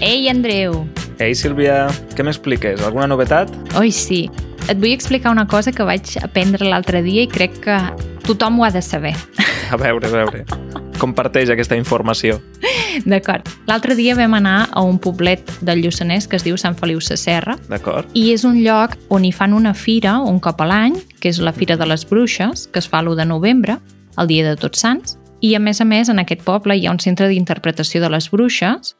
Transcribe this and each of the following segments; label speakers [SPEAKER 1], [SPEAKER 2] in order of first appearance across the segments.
[SPEAKER 1] Ei, Andreu!
[SPEAKER 2] Ei, Sílvia, què m'expliques? Alguna novetat?
[SPEAKER 1] Oi, sí. Et vull explicar una cosa que vaig aprendre l'altre dia i crec que tothom ho ha de saber.
[SPEAKER 2] A veure, a veure. Comparteix aquesta informació.
[SPEAKER 1] D'acord. L'altre dia vam anar a un poblet del Lluçanès que es diu Sant Feliu Sacerra
[SPEAKER 2] D'acord?
[SPEAKER 1] i és un lloc on hi fan una fira un cop a l'any, que és la Fira de les Bruixes, que es fa l'1 de novembre, el dia de Tots Sants, i a més a més en aquest poble hi ha un centre d'interpretació de les bruixes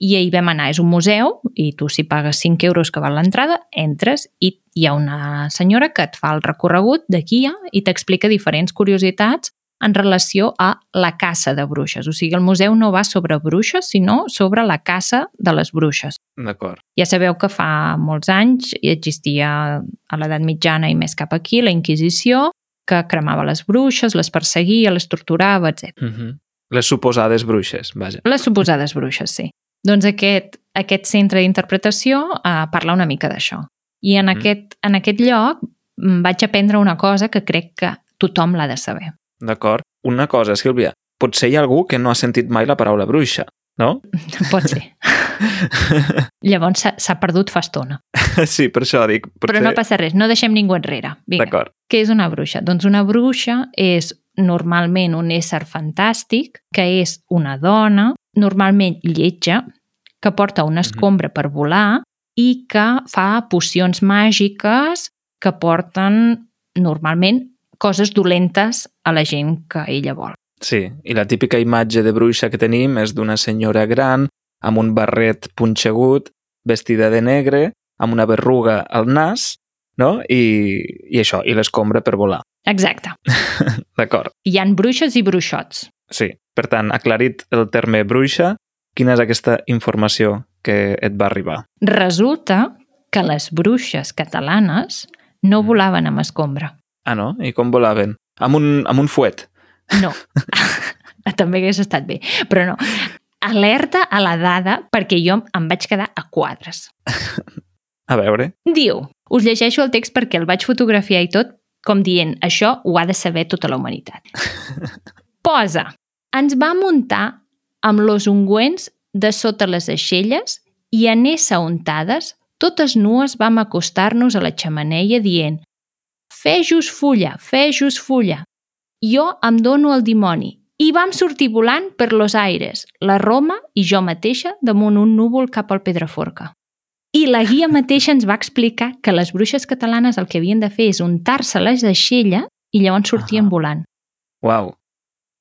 [SPEAKER 1] i hi vam anar, és un museu i tu si pagues 5 euros que val l'entrada entres i hi ha una senyora que et fa el recorregut de guia i t'explica diferents curiositats en relació a la caça de bruixes. O sigui, el museu no va sobre bruixes, sinó sobre la caça de les bruixes.
[SPEAKER 2] D'acord.
[SPEAKER 1] Ja sabeu que fa molts anys hi existia a l'edat mitjana i més cap aquí la Inquisició, que cremava les bruixes, les perseguia, les torturava, etc.
[SPEAKER 2] Uh -huh. Les suposades bruixes, vaja.
[SPEAKER 1] Les suposades bruixes, sí. Doncs aquest, aquest centre d'interpretació eh, parla una mica d'això. I en,
[SPEAKER 2] Mm.
[SPEAKER 1] aquest, en aquest lloc mm, vaig aprendre una cosa que crec que tothom l'ha de saber.
[SPEAKER 2] D'acord? Una cosa, Sílvia, potser hi ha algú que no ha sentit mai la paraula bruixa, no?
[SPEAKER 1] Pot ser. Llavors s'ha- s'ha perdut fa estona.
[SPEAKER 2] sí, per això dic. Potser...
[SPEAKER 1] Però no passa res, no deixem ningú enrere. Vinga.
[SPEAKER 2] D'acord.
[SPEAKER 1] Què és una bruixa? Doncs una bruixa és normalment un ésser fantàstic, que és una dona, normalment lletja, que porta una escombra per volar i que fa pocions màgiques que porten normalment coses dolentes a la gent que ella vol.
[SPEAKER 2] Sí, i la típica imatge de bruixa que tenim és d'una senyora gran amb un barret punxegut, vestida de negre, amb una berruga al nas, no? I, i això, i l'escombra per volar.
[SPEAKER 1] Exacte.
[SPEAKER 2] D'acord,
[SPEAKER 1] Hi han bruixes i bruixots.
[SPEAKER 2] sí. Per tant, aclarit el terme bruixa, quina és aquesta informació que et va arribar?
[SPEAKER 1] Resulta que les bruixes catalanes no volaven amb escombra.
[SPEAKER 2] Ah, no? I com volaven? Amb un, amb un fuet.
[SPEAKER 1] No. També hagués estat bé, però no. Alerta a la dada perquè jo em vaig quedar a quadres.
[SPEAKER 2] A veure.
[SPEAKER 1] Diu, us llegeixo el text perquè el vaig fotografiar i tot, com dient, això ho ha de saber tota la humanitat. Posa, ens va muntar amb los ungüents de sota les aixelles i en essa untades, totes nues vam acostar-nos a la xamaneia dient «Fejos fulla, fejos fulla, jo em dono el dimoni». I vam sortir volant per los aires, la Roma i jo mateixa damunt un núvol cap al Pedraforca. I la guia mateixa ens va explicar que les bruixes catalanes el que havien de fer és untar-se les aixelles i llavors sortien
[SPEAKER 2] Ah.
[SPEAKER 1] volant.
[SPEAKER 2] Uau.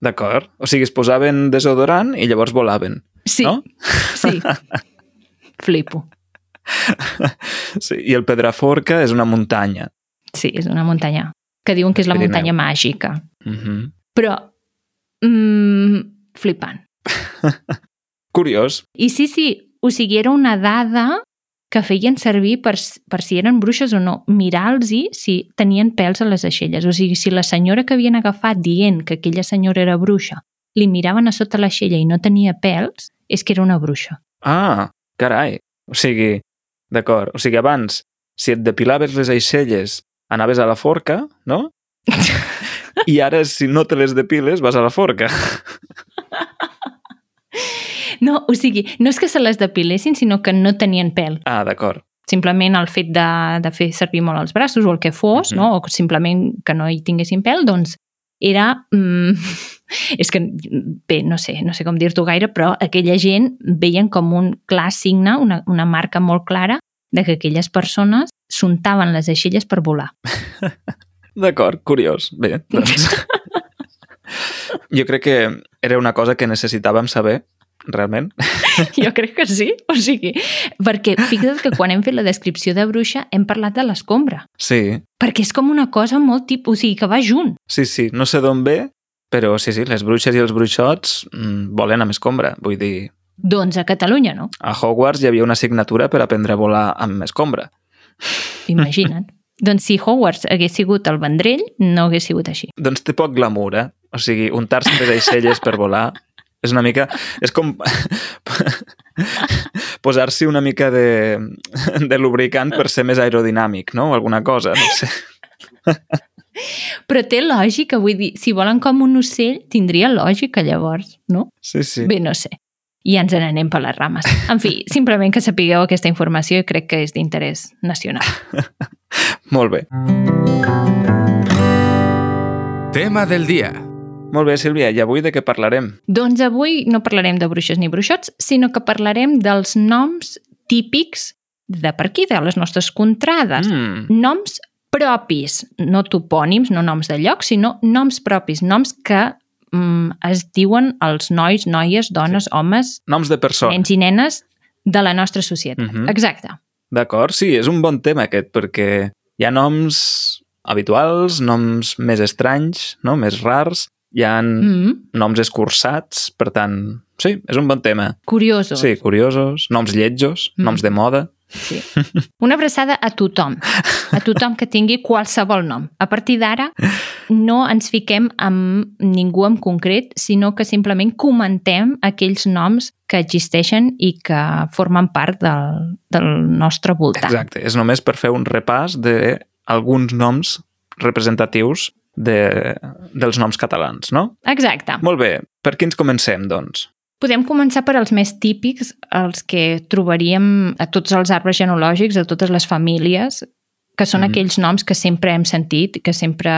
[SPEAKER 2] D'acord. O sigui, es posaven desodorant i llavors volaven.
[SPEAKER 1] Sí,
[SPEAKER 2] No?
[SPEAKER 1] sí. Flipo.
[SPEAKER 2] Sí. I el Pedraforca és una muntanya.
[SPEAKER 1] Sí, és una muntanya que diuen que és la
[SPEAKER 2] Pirineu.
[SPEAKER 1] muntanya màgica.
[SPEAKER 2] Uh -huh.
[SPEAKER 1] Però, mm, flipant.
[SPEAKER 2] Curiós.
[SPEAKER 1] I sí, sí, o sigui, era una dada que feien servir per, s- per si eren bruixes o no, mirar-los si tenien pèls a les aixelles. O sigui, si la senyora que havien agafat dient que aquella senyora era bruixa, li miraven a sota l'aixella i no tenia pèls, és que era una bruixa.
[SPEAKER 2] Ah, carai. O sigui, d'acord. O sigui, abans, si et depilaves les aixelles, anaves a la forca, no? I ara, si no te les depiles, vas a la forca.
[SPEAKER 1] No, o sigui, no és que se les depilessin, sinó que no tenien pèl.
[SPEAKER 2] Ah, d'acord.
[SPEAKER 1] Simplement el fet de, de fer servir molt els braços o el que fos,
[SPEAKER 2] Mhm.
[SPEAKER 1] no? o simplement que no hi tinguessin pèl, doncs era... Mm, és que, bé, no sé, no sé com dir-t'ho gaire, però aquella gent veien com un clar signe, una, una marca molt clara, de que aquelles persones s'untaven les aixelles per volar.
[SPEAKER 2] D'acord, curiós. Bé, doncs... jo crec que era una cosa que necessitàvem saber, realment.
[SPEAKER 1] Jo crec que sí, o sigui, perquè fixa't que quan hem fet la descripció de bruixa hem parlat de l'escombra,
[SPEAKER 2] Sí,
[SPEAKER 1] perquè és com una cosa molt tipus, o sigui, que va junt.
[SPEAKER 2] sí, sí. No sé d'on ve, però sí, sí, les bruixes i els bruixots mm, volen amb escombra. Vull dir,
[SPEAKER 1] Doncs a Catalunya, no?
[SPEAKER 2] a Hogwarts hi havia una assignatura per aprendre a volar amb escombra.
[SPEAKER 1] Imagina't. doncs si Hogwarts hagués sigut el vendrell, no hagués sigut així.
[SPEAKER 2] Doncs té poc glamour, eh? O sigui, untar-se les aixelles per volar és una mica... És com... posar-s'hi una mica de, de lubricant per ser més aerodinàmic, no? O alguna cosa, no sé.
[SPEAKER 1] Però té lògica, vull dir, si volen com un ocell, tindria lògica llavors, no?
[SPEAKER 2] Sí, sí.
[SPEAKER 1] Bé, no sé. I ja ens n'anem per les rames. En fi, simplement que sapigueu aquesta informació i crec que és d'interès nacional.
[SPEAKER 2] Molt bé.
[SPEAKER 3] Tema del día.
[SPEAKER 2] Molt bé, Sílvia, i avui de què parlarem?
[SPEAKER 1] Doncs avui no parlarem de bruixes ni bruixots, sinó que parlarem dels noms típics de per aquí, de les nostres contrades.
[SPEAKER 2] Mm,
[SPEAKER 1] noms propis, no topònims, no noms de lloc, sinó noms propis, noms que mm, es diuen els nois, noies, dones, sí. homes,
[SPEAKER 2] noms de persona.
[SPEAKER 1] nens i nenes de la nostra societat.
[SPEAKER 2] Mhm.
[SPEAKER 1] Exacte.
[SPEAKER 2] D'acord, sí, és un bon tema aquest, perquè hi ha noms habituals, noms més estranys, no? més rars, hi ha mm.
[SPEAKER 1] Mm.
[SPEAKER 2] noms escurçats, per tant, sí, és un bon tema.
[SPEAKER 1] Curiosos.
[SPEAKER 2] Sí, curiosos, noms lletjos,
[SPEAKER 1] Mm.
[SPEAKER 2] noms de moda.
[SPEAKER 1] Sí. Una abraçada a tothom, a tothom que tingui qualsevol nom. A partir d'ara no ens fiquem amb ningú en concret, sinó que simplement comentem aquells noms que existeixen i que formen part del, del nostre voltant.
[SPEAKER 2] Exacte, és només per fer un repàs de alguns noms representatius de, dels noms catalans, no?
[SPEAKER 1] Exacte.
[SPEAKER 2] Molt bé, per quins comencem, doncs?
[SPEAKER 1] Podem començar per als més típics, els que trobaríem a tots els arbres genològics, a totes les famílies, que són
[SPEAKER 2] Mhm.
[SPEAKER 1] mm. aquells noms que sempre hem sentit, que sempre,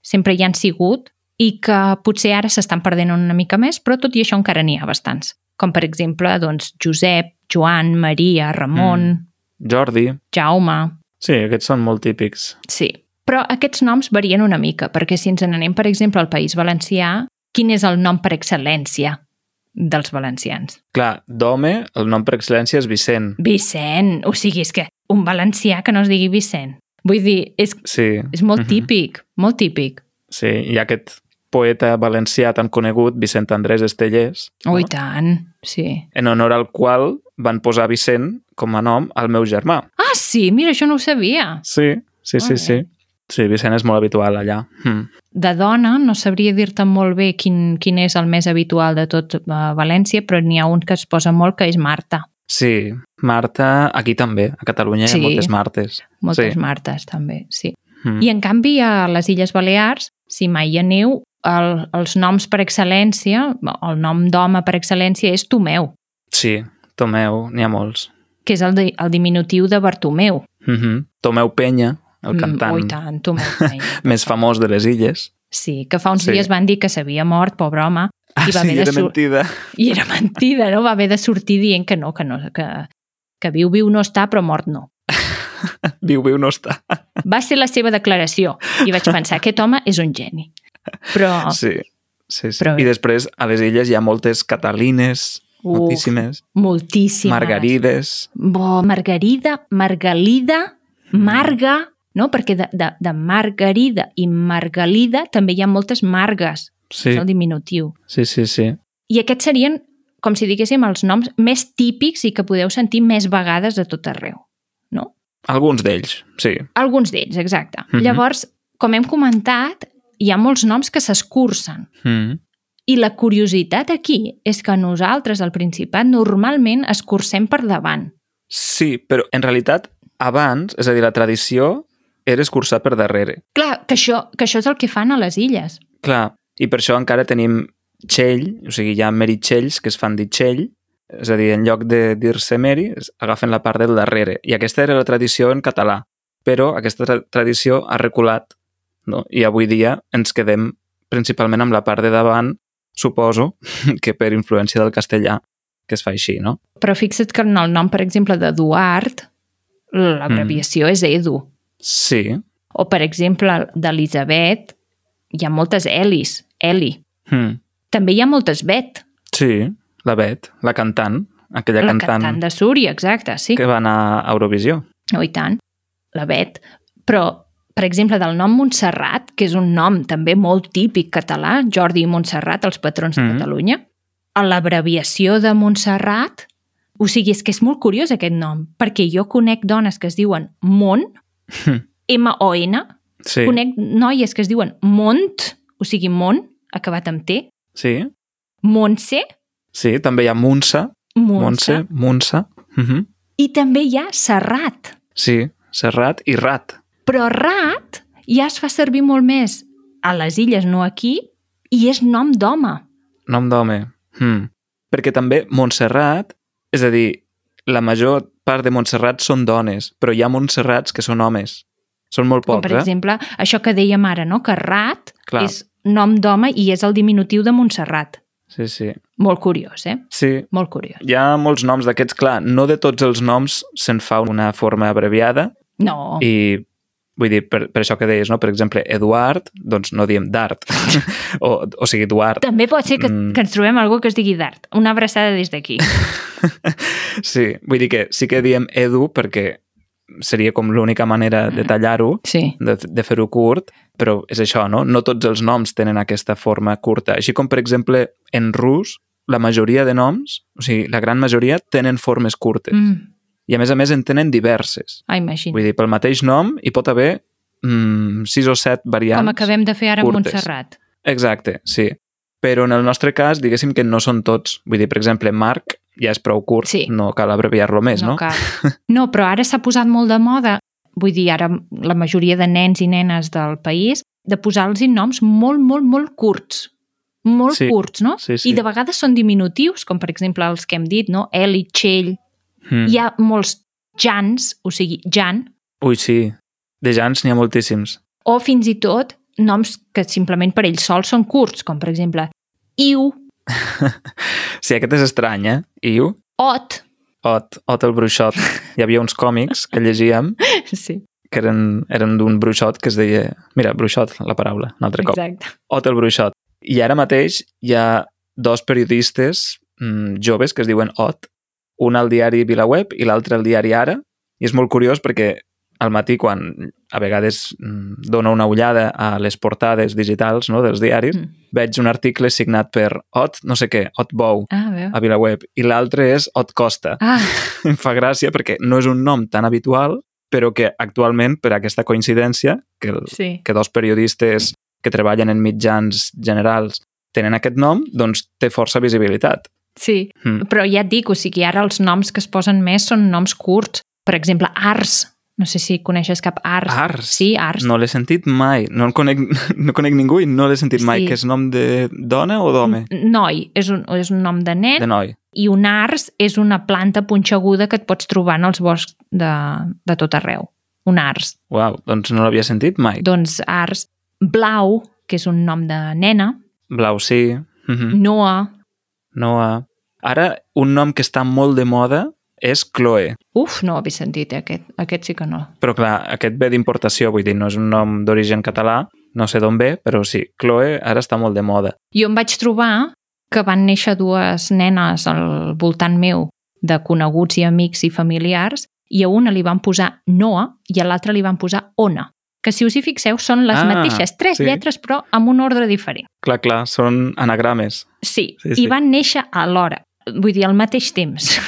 [SPEAKER 1] sempre hi han sigut i que potser ara s'estan perdent una mica més, però tot i això encara n'hi ha bastants. Com per exemple, doncs, Josep, Joan, Maria, Ramon, mm.
[SPEAKER 2] Jordi.
[SPEAKER 1] Jaume...
[SPEAKER 2] Sí, aquests són molt típics.
[SPEAKER 1] Sí. Però aquests noms varien una mica, perquè si ens n'anem, per exemple, al País Valencià, quin és el nom per excel·lència dels valencians?
[SPEAKER 2] Clar, d'home, el nom per excel·lència és Vicent.
[SPEAKER 1] Vicent, o sigui, és que un valencià que no es digui Vicent. Vull dir, és,
[SPEAKER 2] Sí,
[SPEAKER 1] és molt
[SPEAKER 2] Mhm.
[SPEAKER 1] típic, molt típic.
[SPEAKER 2] sí, hi ha aquest poeta valencià tan conegut, Vicent Andrés Estellers,
[SPEAKER 1] Oh, i tant, sí.
[SPEAKER 2] en honor al qual van posar Vicent com a nom al meu germà.
[SPEAKER 1] Ah, sí, mira, això no ho sabia.
[SPEAKER 2] Sí, sí, sí,
[SPEAKER 1] Molt
[SPEAKER 2] sí.
[SPEAKER 1] bé.
[SPEAKER 2] Sí, Vicent és molt habitual allà. Mm.
[SPEAKER 1] De dona no sabria dir-te molt bé quin, quin és el més habitual de tot eh, València, però n'hi ha un que es posa molt, que és Marta.
[SPEAKER 2] Sí, Marta, aquí també, a Catalunya hi ha
[SPEAKER 1] Sí.
[SPEAKER 2] moltes Martes.
[SPEAKER 1] Moltes
[SPEAKER 2] Sí.
[SPEAKER 1] sí. Martes, també, sí.
[SPEAKER 2] Mm.
[SPEAKER 1] I, en canvi, a les Illes Balears, si mai hi aneu, el, els noms per excel·lència, el nom d'home per excel·lència és Tomeu,
[SPEAKER 2] Sí, Tomeu, n'hi ha molts.
[SPEAKER 1] que és el, di- el diminutiu de Bartomeu.
[SPEAKER 2] Mm -hmm. Tomeu Penya, el
[SPEAKER 1] Mm,
[SPEAKER 2] cantant
[SPEAKER 1] Oh, i tant, Tomeu Penya.
[SPEAKER 2] més famós de les illes.
[SPEAKER 1] Sí, que fa uns
[SPEAKER 2] Sí.
[SPEAKER 1] sí. dies van dir que s'havia mort, pobre home,
[SPEAKER 2] Ah,
[SPEAKER 1] va
[SPEAKER 2] sí,
[SPEAKER 1] haver de
[SPEAKER 2] era
[SPEAKER 1] sur-
[SPEAKER 2] mentida.
[SPEAKER 1] i era mentida, no? Va haver de sortir dient que no, que no, que, que viu, viu no està, però mort no.
[SPEAKER 2] Viu, viu, no està.
[SPEAKER 1] Va ser la seva declaració i vaig pensar, aquest home és un geni. Però,
[SPEAKER 2] Sí, sí, sí.
[SPEAKER 1] Oh. Però bé.
[SPEAKER 2] I després, a les illes hi ha moltes catalines,
[SPEAKER 1] uf,
[SPEAKER 2] moltíssimes,
[SPEAKER 1] moltíssimes.
[SPEAKER 2] margarides...
[SPEAKER 1] Bo, Margarida, Margalida,
[SPEAKER 2] Mm.
[SPEAKER 1] Marga, no? Perquè de, de, de Margarida i Margalida també hi ha moltes margues,
[SPEAKER 2] Sí,
[SPEAKER 1] és el diminutiu.
[SPEAKER 2] sí, sí, sí.
[SPEAKER 1] I aquests serien, com si diguéssim, els noms més típics i que podeu sentir més vegades de tot arreu.
[SPEAKER 2] Alguns d'ells, sí.
[SPEAKER 1] Alguns d'ells, exacte. Mm
[SPEAKER 2] Mhm.
[SPEAKER 1] -hmm. Llavors, com hem comentat, hi ha molts noms que s'escurcen.
[SPEAKER 2] Mm.
[SPEAKER 1] I la curiositat aquí és que nosaltres, al Principat, normalment escurcem per davant.
[SPEAKER 2] Sí, però en realitat, abans, és a dir, la tradició era escurçar per darrere.
[SPEAKER 1] Clar, que això, que això és el que fan a les illes.
[SPEAKER 2] Clar, i per això encara tenim Txell, o sigui, hi ha meritxells que es fan dir Txell, és a dir, en lloc de dir-se meri, es- agafen la part del darrere. I aquesta era la tradició en català, però aquesta tra tradició ha reculat, no? i avui dia ens quedem principalment amb la part de davant, suposo que per influència del castellà, que es fa així, no?
[SPEAKER 1] Però fixa't que en el nom, per exemple, d'Eduard, l'abreviació mm. és Edu.
[SPEAKER 2] Sí.
[SPEAKER 1] O, per exemple, d'Elisabet, hi ha moltes Elis, Eli.
[SPEAKER 2] Hmm.
[SPEAKER 1] També hi ha moltes Bet,
[SPEAKER 2] Sí, la Bet, la cantant, aquella
[SPEAKER 1] la
[SPEAKER 2] cantant,
[SPEAKER 1] cantant, de Súria, exacte, sí.
[SPEAKER 2] que va anar a Eurovisió.
[SPEAKER 1] Oh, i tant, la Bet. Però, per exemple, del nom Montserrat, que és un nom també molt típic català, Jordi i Montserrat, els patrons de
[SPEAKER 2] Mhm.
[SPEAKER 1] Catalunya, a l'abreviació de Montserrat, o sigui, és que és molt curiós aquest nom, perquè jo conec dones que es diuen Mont,
[SPEAKER 2] Hm.
[SPEAKER 1] M-O-N,
[SPEAKER 2] Sí,
[SPEAKER 1] conec noies que es diuen Mont, o sigui, Mont, acabat amb T,
[SPEAKER 2] sí.
[SPEAKER 1] Montse,
[SPEAKER 2] Sí, també hi ha Munsa,
[SPEAKER 1] Montse,
[SPEAKER 2] Montse, Munsa. Mm -hmm.
[SPEAKER 1] I també hi ha serrat.
[SPEAKER 2] Sí, serrat i rat.
[SPEAKER 1] Però rat ja es fa servir molt més a les illes, no aquí, i és nom d'home.
[SPEAKER 2] Nom d'home. Hmm. Perquè també Montserrat, és a dir, la major part de Montserrat són dones, però hi ha Montserrats que són homes. Són molt
[SPEAKER 1] Com,
[SPEAKER 2] pocs,
[SPEAKER 1] per exemple, això que dèiem ara, no? que rat
[SPEAKER 2] eh? Clar,
[SPEAKER 1] és nom d'home i és el diminutiu de Montserrat.
[SPEAKER 2] sí, sí.
[SPEAKER 1] Molt curiós, eh?
[SPEAKER 2] Sí,
[SPEAKER 1] Molt curiós.
[SPEAKER 2] hi ha molts noms d'aquests, clar, no de tots els noms se'n fa una forma abreviada
[SPEAKER 1] No,
[SPEAKER 2] i vull dir, per, per això que deies, no? Per exemple, Eduard, doncs no diem Dart, o, o sigui, Eduard.
[SPEAKER 1] també pot ser que,
[SPEAKER 2] Mm.
[SPEAKER 1] que ens trobem algú que es digui Dart. Una abraçada des d'aquí.
[SPEAKER 2] Sí, vull dir que sí que diem Edu perquè seria com l'única manera de tallar-ho,
[SPEAKER 1] Sí.
[SPEAKER 2] de, de fer-ho curt, però és això, no? No tots els noms tenen aquesta forma curta. Així com, per exemple, en rus, la majoria de noms, o sigui, la gran majoria, tenen formes curtes. Mm.
[SPEAKER 1] Mm.
[SPEAKER 2] I, a més a més, en tenen diverses.
[SPEAKER 1] Ah, imagina.
[SPEAKER 2] Vull dir, pel mateix nom hi pot haver mm, sis o set variants.
[SPEAKER 1] Com acabem de fer ara amb
[SPEAKER 2] curtes.
[SPEAKER 1] Montserrat.
[SPEAKER 2] Exacte, sí. Però en el nostre cas, diguéssim que no són tots. Vull dir, per exemple, Marc ja és prou curt,
[SPEAKER 1] Sí.
[SPEAKER 2] no cal abreviar-lo més, no?
[SPEAKER 1] Cal. no, però ara s'ha posat molt de moda, vull dir, ara la majoria de nens i nenes del país, de posar-los noms molt, molt, molt curts. Molt
[SPEAKER 2] Sí.
[SPEAKER 1] curts, no?
[SPEAKER 2] Sí, sí.
[SPEAKER 1] I de vegades són diminutius, com per exemple els que hem dit, no? Eli, Txell,
[SPEAKER 2] Mm.
[SPEAKER 1] hi ha molts Jans, o sigui, Jan,
[SPEAKER 2] Ui, sí. De Jans n'hi ha moltíssims.
[SPEAKER 1] o fins i tot noms que simplement per ells sols són curts, com per exemple Iu,
[SPEAKER 2] Sí, aquest és estrany, eh? Iu?
[SPEAKER 1] Ot,
[SPEAKER 2] Ot, Ot el bruixot. Hi havia uns còmics que llegíem
[SPEAKER 1] sí,
[SPEAKER 2] que eren, eren d'un bruixot que es deia... Mira, bruixot, la paraula, un altre cop.
[SPEAKER 1] exacte.
[SPEAKER 2] Ot el bruixot. I ara mateix hi ha dos periodistes mm, joves que es diuen Ot. Un al diari Vilaweb i l'altre al diari Ara. I és molt curiós perquè al matí, quan a vegades mm, dono una ullada a les portades digitals no, dels diaris,
[SPEAKER 1] Mm.
[SPEAKER 2] veig un article signat per Ot, no sé què, Ot Bou,
[SPEAKER 1] Ah, a veure.
[SPEAKER 2] a Vilaweb, i l'altre és Ot Costa.
[SPEAKER 1] Ah,
[SPEAKER 2] em fa gràcia perquè no és un nom tan habitual, però que actualment, per aquesta coincidència, que, el,
[SPEAKER 1] sí.
[SPEAKER 2] que dos periodistes que treballen en mitjans generals tenen aquest nom, doncs té força visibilitat.
[SPEAKER 1] Sí,
[SPEAKER 2] Mm.
[SPEAKER 1] però ja et dic, o sigui, ara els noms que es posen més són noms curts. Per exemple, Ars. No sé si coneixes cap Ars.
[SPEAKER 2] Ars.
[SPEAKER 1] Sí, Ars.
[SPEAKER 2] No l'he sentit mai. No, el conec, no conec ningú i no l'he sentit mai.
[SPEAKER 1] Sí.
[SPEAKER 2] Que és nom de dona o d'home?
[SPEAKER 1] N- Noi, és un, és un nom de nen
[SPEAKER 2] De noi.
[SPEAKER 1] i un ars és una planta punxeguda que et pots trobar en els boscs de, de tot arreu. Un ars.
[SPEAKER 2] Uau, doncs no l'havia sentit mai.
[SPEAKER 1] Doncs ars blau, que és un nom de nena,
[SPEAKER 2] Blau sí. Mm -hmm.
[SPEAKER 1] Noa,
[SPEAKER 2] Noa. Ara, un nom que està molt de moda és Chloe.
[SPEAKER 1] uf, no ho havia sentit, eh? aquest, aquest sí que no.
[SPEAKER 2] Però clar, aquest ve d'importació, vull dir, no és un nom d'origen català, no sé d'on ve, però sí, Chloe ara està molt de moda.
[SPEAKER 1] Jo em vaig trobar que van néixer dues nenes al voltant meu de coneguts i amics i familiars i a una li van posar Noa i a l'altra li van posar Ona, que si us hi fixeu són les
[SPEAKER 2] Ah,
[SPEAKER 1] ah, mateixes tres
[SPEAKER 2] sí.
[SPEAKER 1] sí. lletres però amb un ordre diferent.
[SPEAKER 2] Clar, clar, són anagrames.
[SPEAKER 1] Sí,
[SPEAKER 2] Sí,
[SPEAKER 1] sí,
[SPEAKER 2] sí.
[SPEAKER 1] i van néixer alhora, vull dir, al mateix temps.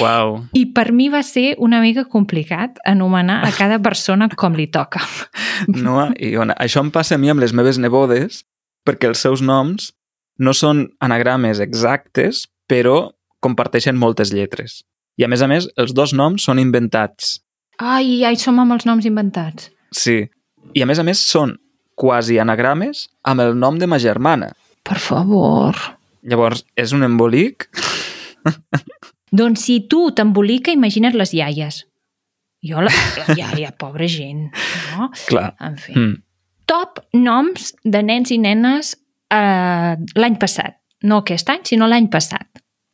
[SPEAKER 2] Uau.
[SPEAKER 1] I per mi va ser una mica complicat anomenar a cada persona com li toca.
[SPEAKER 2] Noa i Ona. Això em passa a mi amb les meves nebodes, perquè els seus noms no són anagrames exactes, però comparteixen moltes lletres. I a més a més, els dos noms són inventats.
[SPEAKER 1] Ai, ai, som amb els noms inventats.
[SPEAKER 2] Sí. I a més a més, són quasi anagrames amb el nom de ma germana.
[SPEAKER 1] Per favor.
[SPEAKER 2] Llavors, és un embolic
[SPEAKER 1] Doncs si tu t'embolica, imagina't les iaies. Jo, la, la iaia, pobra gent, no?
[SPEAKER 2] Clar.
[SPEAKER 1] En fi. Mm.
[SPEAKER 2] Mm.
[SPEAKER 1] Top noms de nens i nenes eh, l'any passat. No aquest any, sinó l'any passat.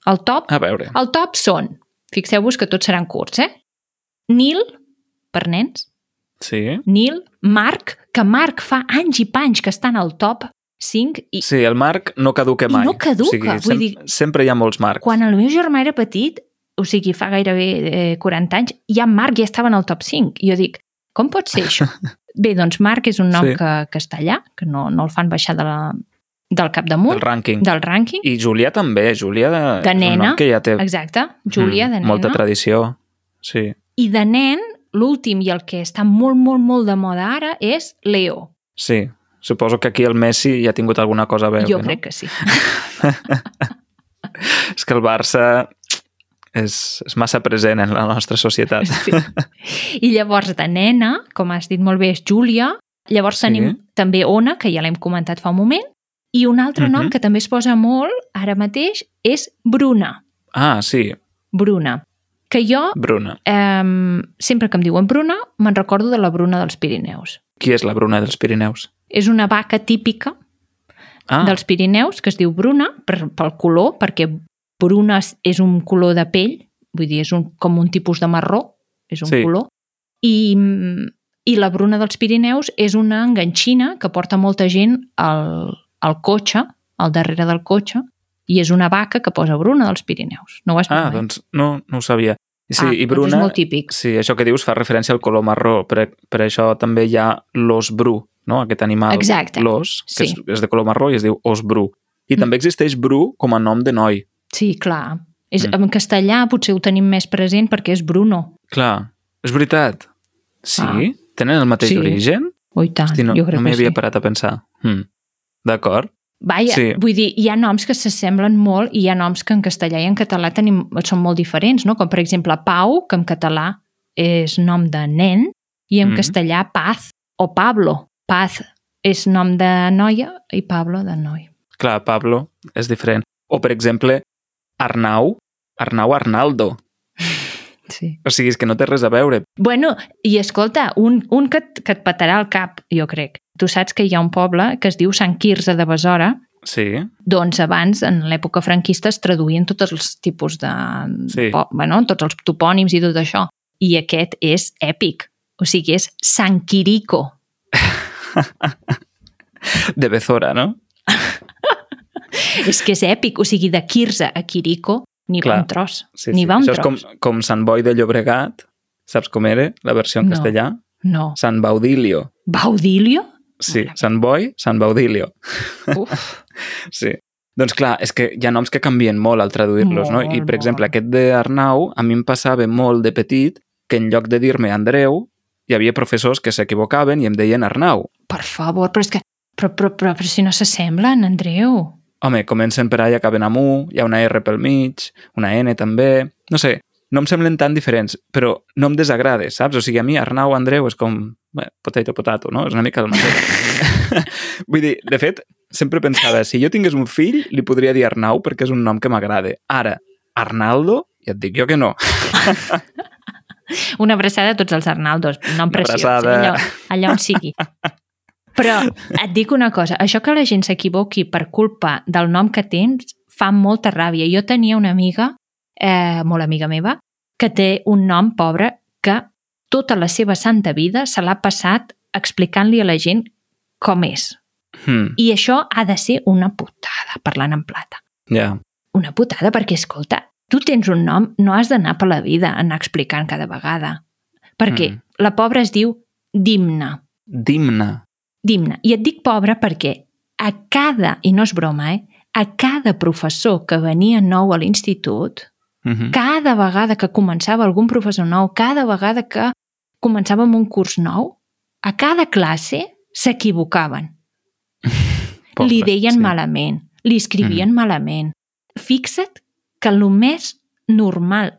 [SPEAKER 1] El top,
[SPEAKER 2] A veure.
[SPEAKER 1] el top són, fixeu-vos que tots seran curts, eh? Nil, per nens,
[SPEAKER 2] Sí.
[SPEAKER 1] Nil, Marc, que Marc fa anys i panys que estan al top 5 i
[SPEAKER 2] Sí, el Marc no caduca
[SPEAKER 1] I
[SPEAKER 2] mai.
[SPEAKER 1] no caduca,
[SPEAKER 2] O sigui,
[SPEAKER 1] vull
[SPEAKER 2] sem
[SPEAKER 1] dir-
[SPEAKER 2] Sempre hi ha molts Marcs.
[SPEAKER 1] quan el meu germà era petit, o sigui, fa gairebé eh, 40 anys, ja Marc ja estava en el top 5. I jo dic, com pot ser això? Bé, doncs Marc és un nom
[SPEAKER 2] Sí.
[SPEAKER 1] sí. que, que està allà, que no, no el fan baixar de la, del
[SPEAKER 2] Del
[SPEAKER 1] capdamunt,
[SPEAKER 2] rànquing.
[SPEAKER 1] del rànquing.
[SPEAKER 2] I Julià també. Julià de,
[SPEAKER 1] De
[SPEAKER 2] és un
[SPEAKER 1] nena.
[SPEAKER 2] nom que ja té
[SPEAKER 1] Exacte, Júlia,
[SPEAKER 2] mm,
[SPEAKER 1] de nena.
[SPEAKER 2] molta tradició. Sí.
[SPEAKER 1] I de nen, l'últim i el que està molt, molt, molt de moda ara és Leo.
[SPEAKER 2] Sí. Suposo que aquí el Messi ja ha tingut alguna cosa a veure.
[SPEAKER 1] jo
[SPEAKER 2] no?
[SPEAKER 1] crec que sí.
[SPEAKER 2] És que el Barça és, és massa present en la nostra societat.
[SPEAKER 1] Sí. I llavors de nena, com has dit molt bé, és Júlia. Llavors
[SPEAKER 2] Sí.
[SPEAKER 1] tenim també Ona, que ja l'hem comentat fa un moment. I un altre nom
[SPEAKER 2] Mhm.
[SPEAKER 1] que també es posa molt ara mateix és Bruna.
[SPEAKER 2] Ah, sí,
[SPEAKER 1] Bruna. Que jo,
[SPEAKER 2] Bruna.
[SPEAKER 1] eh, sempre que em diuen Bruna, me'n recordo de la Bruna dels Pirineus.
[SPEAKER 2] Qui és la Bruna dels Pirineus?
[SPEAKER 1] És una vaca típica
[SPEAKER 2] Ah,
[SPEAKER 1] dels Pirineus que es diu Bruna per, pel color, perquè Bruna és- és un color de pell, vull dir, és un, com un tipus de marró, és un
[SPEAKER 2] Sí.
[SPEAKER 1] sí. color. I, mm, I la Bruna dels Pirineus és una enganxina que porta molta gent al, al cotxe, al darrere del cotxe, i és una vaca que posa Bruna dels Pirineus. No ho has
[SPEAKER 2] ah
[SPEAKER 1] vist mai?
[SPEAKER 2] doncs no, no ho sabia. Sí,
[SPEAKER 1] ah,
[SPEAKER 2] i
[SPEAKER 1] doncs
[SPEAKER 2] Bruna,
[SPEAKER 1] és molt típic.
[SPEAKER 2] sí, això que dius fa referència al color marró, per, per això també hi ha l'os bru, no? aquest animal,
[SPEAKER 1] Exacte.
[SPEAKER 2] l'os, que
[SPEAKER 1] Sí.
[SPEAKER 2] és, és de color marró i es diu os bru. I
[SPEAKER 1] Mm.
[SPEAKER 2] també existeix bru com a nom de noi.
[SPEAKER 1] Sí, clar. És,
[SPEAKER 2] Mm.
[SPEAKER 1] En castellà potser ho tenim més present perquè és Bruno.
[SPEAKER 2] Clar, és veritat. Sí?
[SPEAKER 1] Ah.
[SPEAKER 2] Tenen el mateix
[SPEAKER 1] Sí.
[SPEAKER 2] origen?
[SPEAKER 1] Oh, i tant,
[SPEAKER 2] Hosti, no
[SPEAKER 1] jo crec
[SPEAKER 2] no m'hi
[SPEAKER 1] que sí.
[SPEAKER 2] havia parat a pensar. Hmm. D'acord.
[SPEAKER 1] Vaja,
[SPEAKER 2] Sí.
[SPEAKER 1] sí. vull dir, hi ha noms que s'assemblen molt i hi ha noms que en castellà i en català tenim, són molt diferents, no? Com per exemple Pau, que en català és nom de nen, i en
[SPEAKER 2] Mhm.
[SPEAKER 1] mm. castellà Paz o Pablo. Paz és nom de noia i Pablo de noi.
[SPEAKER 2] Clar, Pablo és diferent. O, per exemple, Arnau, Arnau Arnaldo.
[SPEAKER 1] Sí.
[SPEAKER 2] O sigui, és que no té res a veure.
[SPEAKER 1] Bueno, i escolta, un, un que, et- que et petarà el cap, jo crec. Tu saps que hi ha un poble que es diu Sant Quirze de Besora,
[SPEAKER 2] Sí,
[SPEAKER 1] doncs abans, en l'època franquista, es traduïen tots els tipus de...
[SPEAKER 2] Sí.
[SPEAKER 1] Po, bueno, tots els topònims i tot això. I aquest és èpic. O sigui, és San Quirico.
[SPEAKER 2] de Bezora, no?
[SPEAKER 1] És que és èpic. O sigui, de Quirze a Quirico ni
[SPEAKER 2] Clar.
[SPEAKER 1] va un tros.
[SPEAKER 2] Sí,
[SPEAKER 1] Ni
[SPEAKER 2] sí.
[SPEAKER 1] va un
[SPEAKER 2] Això és com,
[SPEAKER 1] tros.
[SPEAKER 2] com Sant Boi de Llobregat, saps com era la versió en
[SPEAKER 1] No.
[SPEAKER 2] castellà?
[SPEAKER 1] No.
[SPEAKER 2] Sant Baudilio.
[SPEAKER 1] Baudilio?
[SPEAKER 2] Sí,
[SPEAKER 1] Mare
[SPEAKER 2] Sant Boi, Sant Baudilio.
[SPEAKER 1] Uf.
[SPEAKER 2] Sí. Doncs clar, és que hi ha noms que canvien molt al traduir-los, no? I,
[SPEAKER 1] Molt,
[SPEAKER 2] per exemple,
[SPEAKER 1] molt.
[SPEAKER 2] aquest d'Arnau, a mi em passava molt de petit que en lloc de dir-me Andreu, hi havia professors que s'equivocaven i em deien Arnau.
[SPEAKER 1] Per favor, però és que... Però, però, però, però si no s'assemblen, Andreu.
[SPEAKER 2] Home, comencen per A i acaben amb U, hi ha una R pel mig, una N també... No sé, no em semblen tan diferents, però no em desagrada, saps? O sigui, a mi Arnau, Andreu és com... Bé, potato, potato, no? És una mica el mateix. Vull dir, de fet, sempre pensava, si jo tingués un fill, li podria dir Arnau perquè és un nom que m'agrada. Ara, Arnaldo, ja et dic jo que no.
[SPEAKER 1] Una abraçada a tots els Arnaldos, un nom
[SPEAKER 2] Una
[SPEAKER 1] preciós,
[SPEAKER 2] abraçada.
[SPEAKER 1] allà, allà on sigui. Però et dic una cosa, això que la gent s'equivoqui per culpa del nom que tens fa molta ràbia. Jo tenia una amiga, eh, molt amiga meva, que té un nom pobre que tota la seva santa vida se l'ha passat explicant-li a la gent com és.
[SPEAKER 2] Hmm,
[SPEAKER 1] I això ha de ser una putada, parlant en plata
[SPEAKER 2] ja,
[SPEAKER 1] una putada perquè, escolta, tu tens un nom, no has d'anar per la vida a anar explicant cada vegada. Perquè
[SPEAKER 2] Mm.
[SPEAKER 1] mm. la pobra es diu Dimna.
[SPEAKER 2] dimna.
[SPEAKER 1] Dimna. I et dic pobra perquè a cada, i no és broma, eh? a cada professor que venia nou a l'institut,
[SPEAKER 2] Mhm.
[SPEAKER 1] cada vegada que començava algun professor nou, cada vegada que començava amb un curs nou, a cada classe s'equivocaven.
[SPEAKER 2] Pobre,
[SPEAKER 1] li deien sí. malament, li escrivien mm. malament. Fixa't que el més normal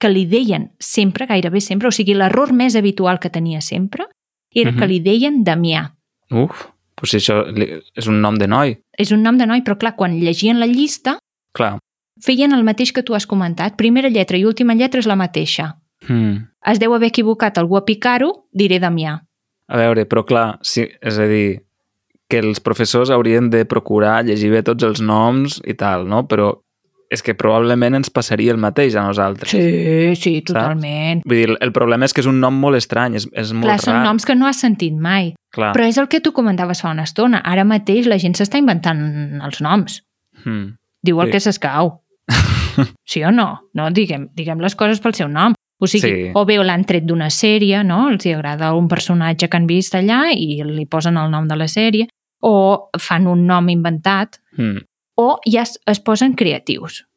[SPEAKER 1] que li deien sempre, gairebé sempre, o sigui, l'error més habitual que tenia sempre, era
[SPEAKER 2] Mhm.
[SPEAKER 1] que li deien Damià.
[SPEAKER 2] Uf, doncs això li- és un nom de noi,
[SPEAKER 1] És un nom de noi, però clar, quan llegien la llista,
[SPEAKER 2] clar.
[SPEAKER 1] feien el mateix que tu has comentat. Primera lletra i última lletra és la mateixa.
[SPEAKER 2] Hmm.
[SPEAKER 1] Es deu haver equivocat algú a picar-ho, diré Damià.
[SPEAKER 2] A veure, però clar, sí, és a dir, que els professors haurien de procurar llegir bé tots els noms i tal, no? Però és que probablement ens passaria el mateix a nosaltres.
[SPEAKER 1] Sí, sí, totalment.
[SPEAKER 2] Vull dir, el problema és que és un nom molt estrany, és, és molt
[SPEAKER 1] Clar,
[SPEAKER 2] rar.
[SPEAKER 1] són noms que no has sentit mai.
[SPEAKER 2] Clar.
[SPEAKER 1] Però és el que tu comentaves fa una estona. Ara mateix la gent s'està inventant els noms.
[SPEAKER 2] Hmm.
[SPEAKER 1] Diu el
[SPEAKER 2] Sí.
[SPEAKER 1] sí. que s'escau. Sí o no? no diguem, diguem les coses pel seu nom. O sigui,
[SPEAKER 2] Sí.
[SPEAKER 1] sí. o bé l'han tret d'una sèrie, no? Els hi agrada un personatge que han vist allà i li posen el nom de la sèrie, o fan un nom inventat,
[SPEAKER 2] Hmm.
[SPEAKER 1] o ja es, es posen creatius.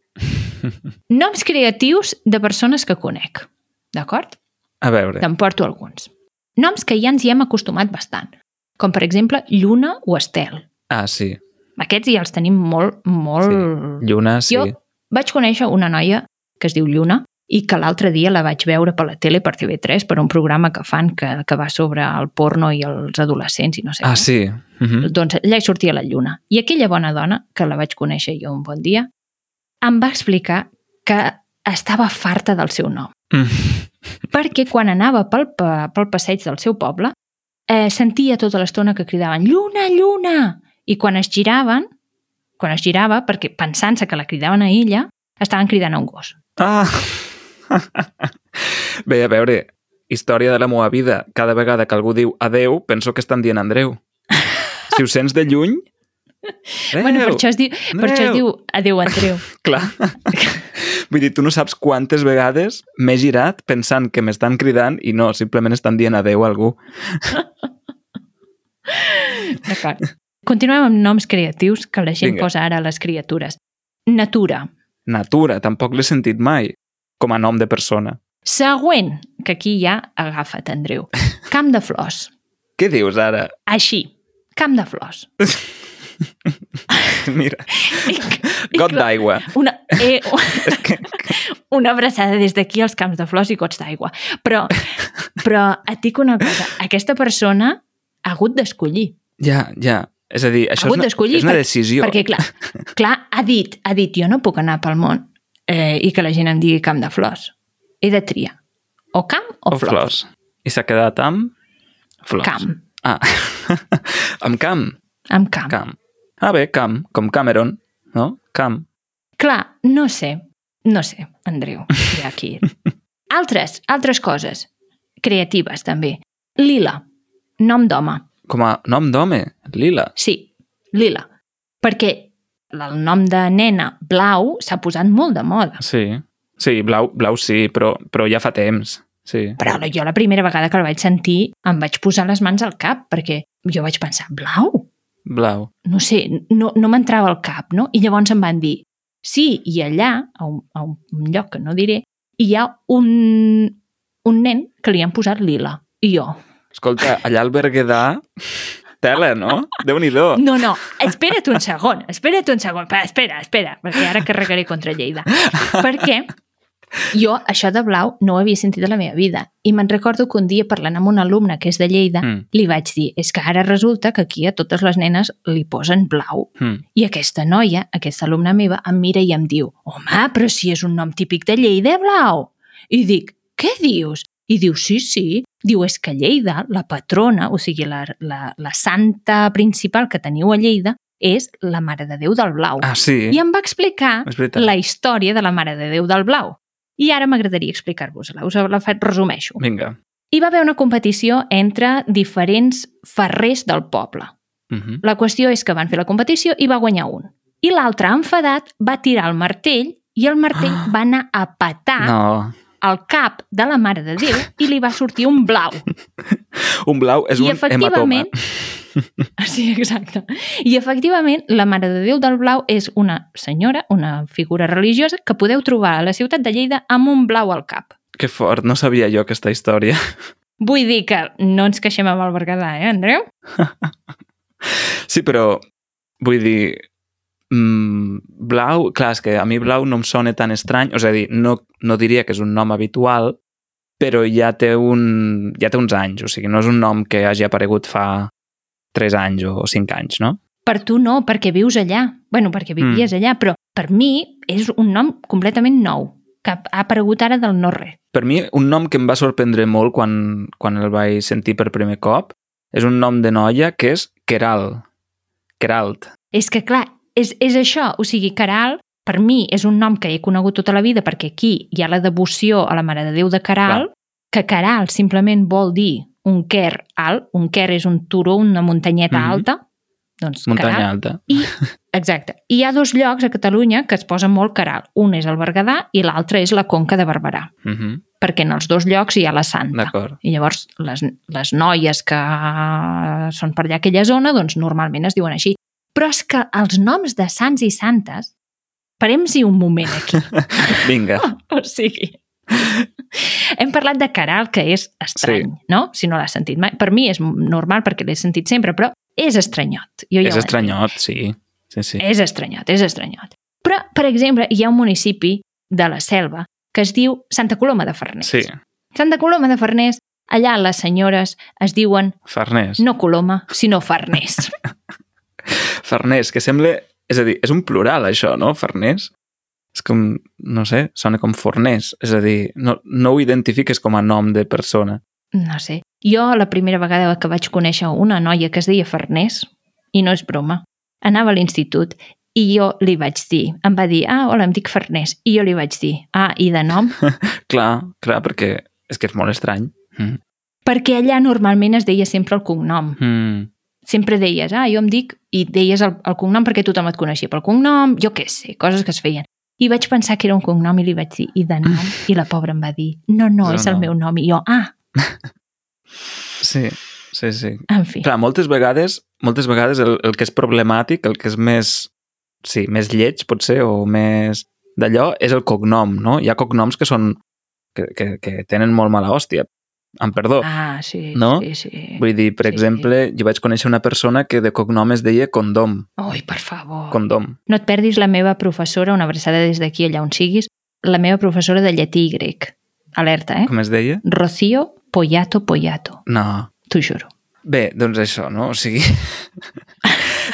[SPEAKER 1] Noms creatius de persones que conec, d'acord?
[SPEAKER 2] A veure,
[SPEAKER 1] Te'n porto alguns. Noms que ja ens hi hem acostumat bastant, com per exemple Lluna o Estel.
[SPEAKER 2] ah, sí,
[SPEAKER 1] Aquests ja els tenim molt, molt...
[SPEAKER 2] Lluna, sí. Ah,
[SPEAKER 1] Jo vaig conèixer una noia que es diu Lluna, i que l'altre dia la vaig veure per la tele, per TV3, per un programa que fan que, que va sobre el porno i els adolescents i no sé
[SPEAKER 2] Ah,
[SPEAKER 1] què.
[SPEAKER 2] sí. Mhm.
[SPEAKER 1] Doncs allà hi sortia la lluna. I aquella bona dona, que la vaig conèixer jo un bon dia, em va explicar que estava farta del seu nom.
[SPEAKER 2] Mm.
[SPEAKER 1] Perquè quan anava pel, pa- pel passeig del seu poble, eh, sentia tota l'estona que cridaven «Lluna, lluna!» I quan es giraven, quan es girava, perquè pensant-se que la cridaven a ella, estaven cridant a un gos.
[SPEAKER 2] Ah! Bé, a veure, història de la meva vida. Cada vegada que algú diu adeu, penso que estan dient Andreu. Si ho sents de lluny... Adeu,
[SPEAKER 1] Bueno, per això es diu, per això es
[SPEAKER 2] adeu.
[SPEAKER 1] diu «Adéu, Andreu».
[SPEAKER 2] Clar. Vull dir, tu no saps quantes vegades m'he girat pensant que m'estan cridant i no, simplement estan dient adeu a algú.
[SPEAKER 1] D'acord. Continuem amb noms creatius que la gent
[SPEAKER 2] Vinga.
[SPEAKER 1] Vinga. posa ara a les criatures. Natura.
[SPEAKER 2] Natura, tampoc l'he sentit mai com a nom de persona.
[SPEAKER 1] Següent, que aquí ja agafa't, Andreu. Camp de flors.
[SPEAKER 2] Què dius ara?
[SPEAKER 1] Així. Camp de flors.
[SPEAKER 2] Mira,
[SPEAKER 1] I, i
[SPEAKER 2] got
[SPEAKER 1] clar,
[SPEAKER 2] d'aigua.
[SPEAKER 1] Una, eh,
[SPEAKER 2] És que,
[SPEAKER 1] una abraçada des d'aquí als camps de flors i gots d'aigua. Però, però et dic una cosa. Aquesta persona ha hagut d'escollir.
[SPEAKER 2] ja, ja. És a dir,
[SPEAKER 1] Ha
[SPEAKER 2] això és
[SPEAKER 1] hagut
[SPEAKER 2] una,
[SPEAKER 1] d'escollir
[SPEAKER 2] és una
[SPEAKER 1] per-
[SPEAKER 2] decisió.
[SPEAKER 1] Perquè, clar, clar ha, dit, ha dit jo no puc anar pel món eh, i que la gent em digui camp de flors. He de triar. O camp o,
[SPEAKER 2] o flors. I s'ha quedat amb... Flors.
[SPEAKER 1] Camp.
[SPEAKER 2] Ah, amb camp.
[SPEAKER 1] Amb camp.
[SPEAKER 2] Camp. Ah, bé, camp, com Cameron, no? Camp.
[SPEAKER 1] Clar, no sé. No sé, Andreu, ja aquí. Altres, altres coses. Creatives, també. Lila. Nom d'home.
[SPEAKER 2] Com a nom d'home, lila.
[SPEAKER 1] Sí, Lila. Perquè el nom de nena blau s'ha posat molt de moda.
[SPEAKER 2] Sí, sí, blau, blau sí, però, però ja fa temps. Sí.
[SPEAKER 1] Però jo la primera vegada que el vaig sentir em vaig posar les mans al cap perquè jo vaig pensar, blau?
[SPEAKER 2] Blau.
[SPEAKER 1] no sé, no, no m'entrava al cap, no? I llavors em van dir, sí, i allà, a un, a un lloc que no diré, hi ha un, un nen que li han posat lila. I jo,
[SPEAKER 2] Escolta, allà al Berguedà... Tela, no? Déu-n'hi-do.
[SPEAKER 1] no, no, espera't un segon, espera't un segon, pa, espera, espera, perquè ara carregaré contra Lleida. Perquè jo això de blau no ho havia sentit a la meva vida i me'n recordo que un dia parlant amb un alumne que és de Lleida
[SPEAKER 2] Mm,
[SPEAKER 1] li vaig dir, és que ara resulta que aquí a totes les nenes li posen blau
[SPEAKER 2] mm.
[SPEAKER 1] I aquesta noia, aquesta alumna meva, em mira i em diu «Home, però si és un nom típic de Lleida, Blau!» I dic «Què dius?» I diu «Sí, sí». Diu «És que Lleida, la patrona, o sigui, la, la, la santa principal que teniu a Lleida, és la Mare de Déu del Blau».
[SPEAKER 2] Ah, sí,
[SPEAKER 1] I em va explicar
[SPEAKER 2] és veritat.
[SPEAKER 1] la història de la Mare de Déu del Blau. I ara m'agradaria explicar-vos-la, us la fa- resumeixo.
[SPEAKER 2] Vinga.
[SPEAKER 1] Hi va haver una competició entre diferents ferrers del poble.
[SPEAKER 2] Mhm.
[SPEAKER 1] La qüestió és que van fer la competició i va guanyar un. I l'altre, enfadat, va tirar el martell i el martell
[SPEAKER 2] Ah.
[SPEAKER 1] va anar a petar no.
[SPEAKER 2] No.
[SPEAKER 1] al cap de la Mare de Déu i li va sortir un blau.
[SPEAKER 2] Un blau és
[SPEAKER 1] I
[SPEAKER 2] un hematoma.
[SPEAKER 1] efectivament... Sí, exacte. I efectivament, la Mare de Déu del Blau és una senyora, una figura religiosa, que podeu trobar a la ciutat de Lleida amb un blau al cap.
[SPEAKER 2] Que fort, no sabia jo aquesta història.
[SPEAKER 1] Vull dir que no ens queixem amb el Berguedà, eh, Andreu?
[SPEAKER 2] Sí, però vull dir... Mm, blau, clar, és que a mi blau no em sona tan estrany, és a dir, no, no diria que és un nom habitual, però ja té, un, ja té uns anys, o sigui, no és un nom que hagi aparegut fa 3 anys o 5 anys, no?
[SPEAKER 1] Per tu no, perquè vius allà. bueno, perquè vivies mm. allà, però per mi és un nom completament nou, que ha aparegut ara del no-res.
[SPEAKER 2] Per mi, un nom que em va sorprendre molt quan, quan el vaig sentir per primer cop és un nom de noia que és Keral. Keralt.
[SPEAKER 1] És que, clar, és, és això. O sigui, Caral, per mi, és un nom que he conegut tota la vida perquè aquí hi ha la devoció a la Mare de Déu de Caral, que Caral simplement vol dir un quer alt, un quer és un turó, una muntanyeta mm
[SPEAKER 2] Mhm.
[SPEAKER 1] -hmm. alta, doncs
[SPEAKER 2] Muntanya
[SPEAKER 1] Caral.
[SPEAKER 2] alta.
[SPEAKER 1] Exacte. I hi ha dos llocs a Catalunya que es posa molt Caral. Un és el Berguedà i l'altre és la Conca de Barberà,
[SPEAKER 2] Mhm,
[SPEAKER 1] perquè en els dos llocs hi ha la Santa.
[SPEAKER 2] D'acord.
[SPEAKER 1] I llavors les, les noies que són per allà aquella zona, doncs normalment es diuen així. Però és que els noms de sants i santes, parem-hi un moment aquí.
[SPEAKER 2] Vinga.
[SPEAKER 1] o sigui, hem parlat de Caral, que és estrany, sí. no? Si no l'has sentit mai. Per mi és normal perquè l'he sentit sempre, però és estranyot. Jo ja ho
[SPEAKER 2] és
[SPEAKER 1] entenc.
[SPEAKER 2] estranyot, sí. Sí, sí.
[SPEAKER 1] Eh, És estranyot, és estranyot. Però, per exemple, hi ha un municipi de la selva que es diu Santa Coloma de Farners.
[SPEAKER 2] Sí,
[SPEAKER 1] Santa Coloma de Farners, allà les senyores es diuen
[SPEAKER 2] Farners.
[SPEAKER 1] no Coloma, sinó Farners.
[SPEAKER 2] Farners, que sembla... És a dir, és un plural, això, no? Farners. És com, no sé, sona com forners. És a dir, no, no ho identifiques com a nom de persona.
[SPEAKER 1] No sé. Jo, la primera vegada que vaig conèixer una noia que es deia Farners, i no és broma, anava a l'institut i jo li vaig dir, em va dir, ah, hola, em dic Farners, i jo li vaig dir, ah, i de nom?
[SPEAKER 2] Clar, clar, perquè és que és molt estrany. Mm.
[SPEAKER 1] Perquè allà normalment es deia sempre el cognom.
[SPEAKER 2] Mm.
[SPEAKER 1] Sempre deies, ah, jo em dic, i deies el, el cognom perquè tothom et coneixia pel cognom, jo què sé, coses que es feien. I vaig pensar que era un cognom i li vaig dir, i de nom? I la pobra em va dir, no, no,
[SPEAKER 2] No,
[SPEAKER 1] és el
[SPEAKER 2] no.
[SPEAKER 1] meu nom. I jo, ah,
[SPEAKER 2] Sí, sí, sí.
[SPEAKER 1] en fi.
[SPEAKER 2] Clar, moltes vegades, moltes vegades el, el que és problemàtic, el que és més, sí, més lleig, potser, o més d'allò, és el cognom, no? Hi ha cognoms que són... que, que, que tenen molt mala hòstia. Amb perdó.
[SPEAKER 1] Ah, sí,
[SPEAKER 2] No?
[SPEAKER 1] sí, sí.
[SPEAKER 2] Vull dir, per
[SPEAKER 1] sí.
[SPEAKER 2] sí. exemple, jo vaig conèixer una persona que de cognom es deia Condom.
[SPEAKER 1] Ui, per favor.
[SPEAKER 2] Condom.
[SPEAKER 1] No et perdis la meva professora, una abraçada des d'aquí allà on siguis, la meva professora de llatí i grec. Alerta, eh?
[SPEAKER 2] Com es deia?
[SPEAKER 1] Rocío Poyato Poyato,
[SPEAKER 2] No.
[SPEAKER 1] t'ho juro.
[SPEAKER 2] Bé, doncs això, no? O sigui...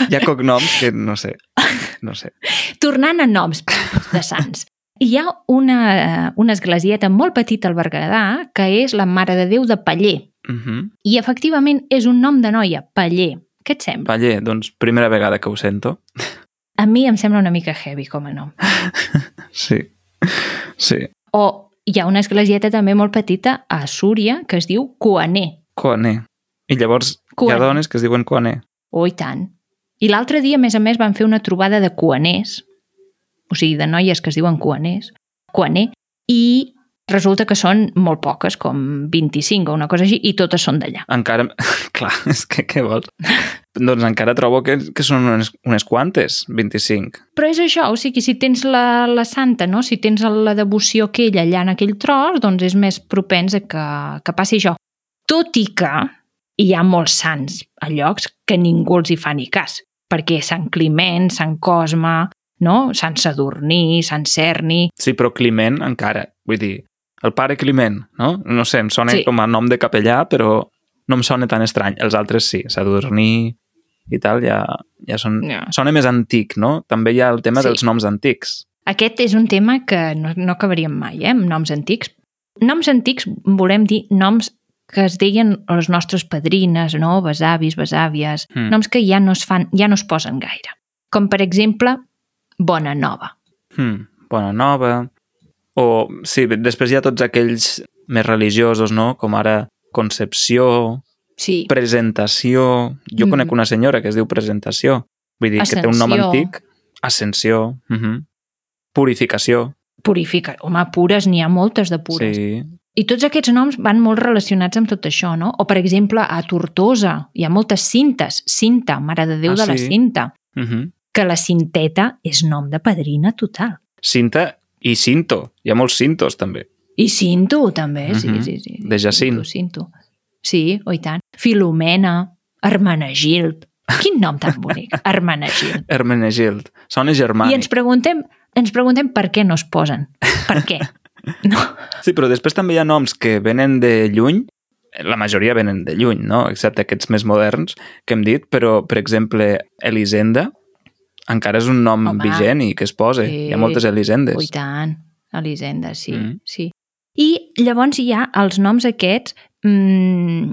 [SPEAKER 2] hi ha cognoms que no sé. No sé.
[SPEAKER 1] Tornant a noms de sants. Hi ha una, una esglesieta molt petita al Berguedà que és la Mare de Déu de Paller.
[SPEAKER 2] Uh -huh.
[SPEAKER 1] I efectivament és un nom de noia, Paller. Què et sembla?
[SPEAKER 2] Valle, doncs primera vegada que ho sento.
[SPEAKER 1] A mi em sembla una mica heavy com a nom.
[SPEAKER 2] Sí. Sí.
[SPEAKER 1] O hi ha una esglesieta també molt petita a Súria que es diu Coaner.
[SPEAKER 2] Coané. I llavors
[SPEAKER 1] Coané.
[SPEAKER 2] hi ha dones que es diuen Coané.
[SPEAKER 1] Oh, i tant. I l'altre dia, a més a més, van fer una trobada de cuaners, o sigui, de noies que es diuen cuaners, cuaner, i resulta que són molt poques, com 25 o una cosa així, i totes són d'allà.
[SPEAKER 2] Encara... Clar, és que què vols? doncs encara trobo que, que són unes, unes quantes, 25.
[SPEAKER 1] Però és això, o sigui, si tens la, la santa, no? si tens la devoció que ella allà en aquell tros, doncs és més propens a que, que passi això. Tot i que hi ha molts sants a llocs que ningú els hi fa ni cas, perquè Sant Climent, Sant Cosme, no? Sant Sadurní, Sant Cerni,
[SPEAKER 2] Sí, però Climent encara. Vull dir, el pare Climent, no? No sé, em sona
[SPEAKER 1] Sí.
[SPEAKER 2] sí. com a nom de capellà, però no em sona tan estrany. Els altres sí, Sadurní i tal, ja, ja són...
[SPEAKER 1] Ja.
[SPEAKER 2] Sona més antic, no? També hi ha el tema
[SPEAKER 1] Sí.
[SPEAKER 2] sí. dels noms antics.
[SPEAKER 1] Aquest és un tema que no, no acabaríem mai, eh, amb noms antics. Noms antics volem dir noms que es deien les nostres padrines, no? besavis, besàvies,
[SPEAKER 2] Mm.
[SPEAKER 1] noms que ja no, es fan, ja no es posen gaire. Com, per exemple, Bona Nova.
[SPEAKER 2] Hmm, Bona Nova... O, sí, després hi ha tots aquells més religiosos, no? Com ara Concepció,
[SPEAKER 1] Sí.
[SPEAKER 2] Presentació... Jo
[SPEAKER 1] Mm.
[SPEAKER 2] mm. conec una senyora que es diu Presentació. Vull dir, que té un nom
[SPEAKER 1] Ascensió.
[SPEAKER 2] antic. Ascensió. Uh -huh. Purificació.
[SPEAKER 1] Purifica. Home, pures, n'hi ha moltes de pures.
[SPEAKER 2] Sí.
[SPEAKER 1] I tots aquests noms van molt relacionats amb tot això, no? O, per exemple, a Tortosa hi ha moltes cintes. Cinta, Mare de Déu
[SPEAKER 2] Ah,
[SPEAKER 1] de la
[SPEAKER 2] sí?
[SPEAKER 1] Cinta.
[SPEAKER 2] Uh -huh.
[SPEAKER 1] Que la cinteta és nom de padrina total.
[SPEAKER 2] Cinta i cinto. Hi ha molts cintos, també.
[SPEAKER 1] I Cinto, també, sí,
[SPEAKER 2] Mhm.
[SPEAKER 1] sí, sí.
[SPEAKER 2] De Jacint.
[SPEAKER 1] Cinto, Cinto. Sí, oi tant. Filomena, Hermenegild. Quin nom tan bonic, Hermenegild.
[SPEAKER 2] Hermenegild. Sona
[SPEAKER 1] I
[SPEAKER 2] germànic.
[SPEAKER 1] ens preguntem, ens preguntem per què no es posen. Per què? No.
[SPEAKER 2] Sí, però després també hi ha noms que venen de lluny, la majoria venen de lluny, no? excepte aquests més moderns que hem dit, però, per exemple, Elisenda encara és un nom
[SPEAKER 1] Home.
[SPEAKER 2] Home. vigent i que es posa.
[SPEAKER 1] Sí.
[SPEAKER 2] Sí. Hi ha moltes Elisendes.
[SPEAKER 1] Oi tant, Elisenda, sí,
[SPEAKER 2] Mhm.
[SPEAKER 1] sí. I llavors hi ha els noms aquests, mmm,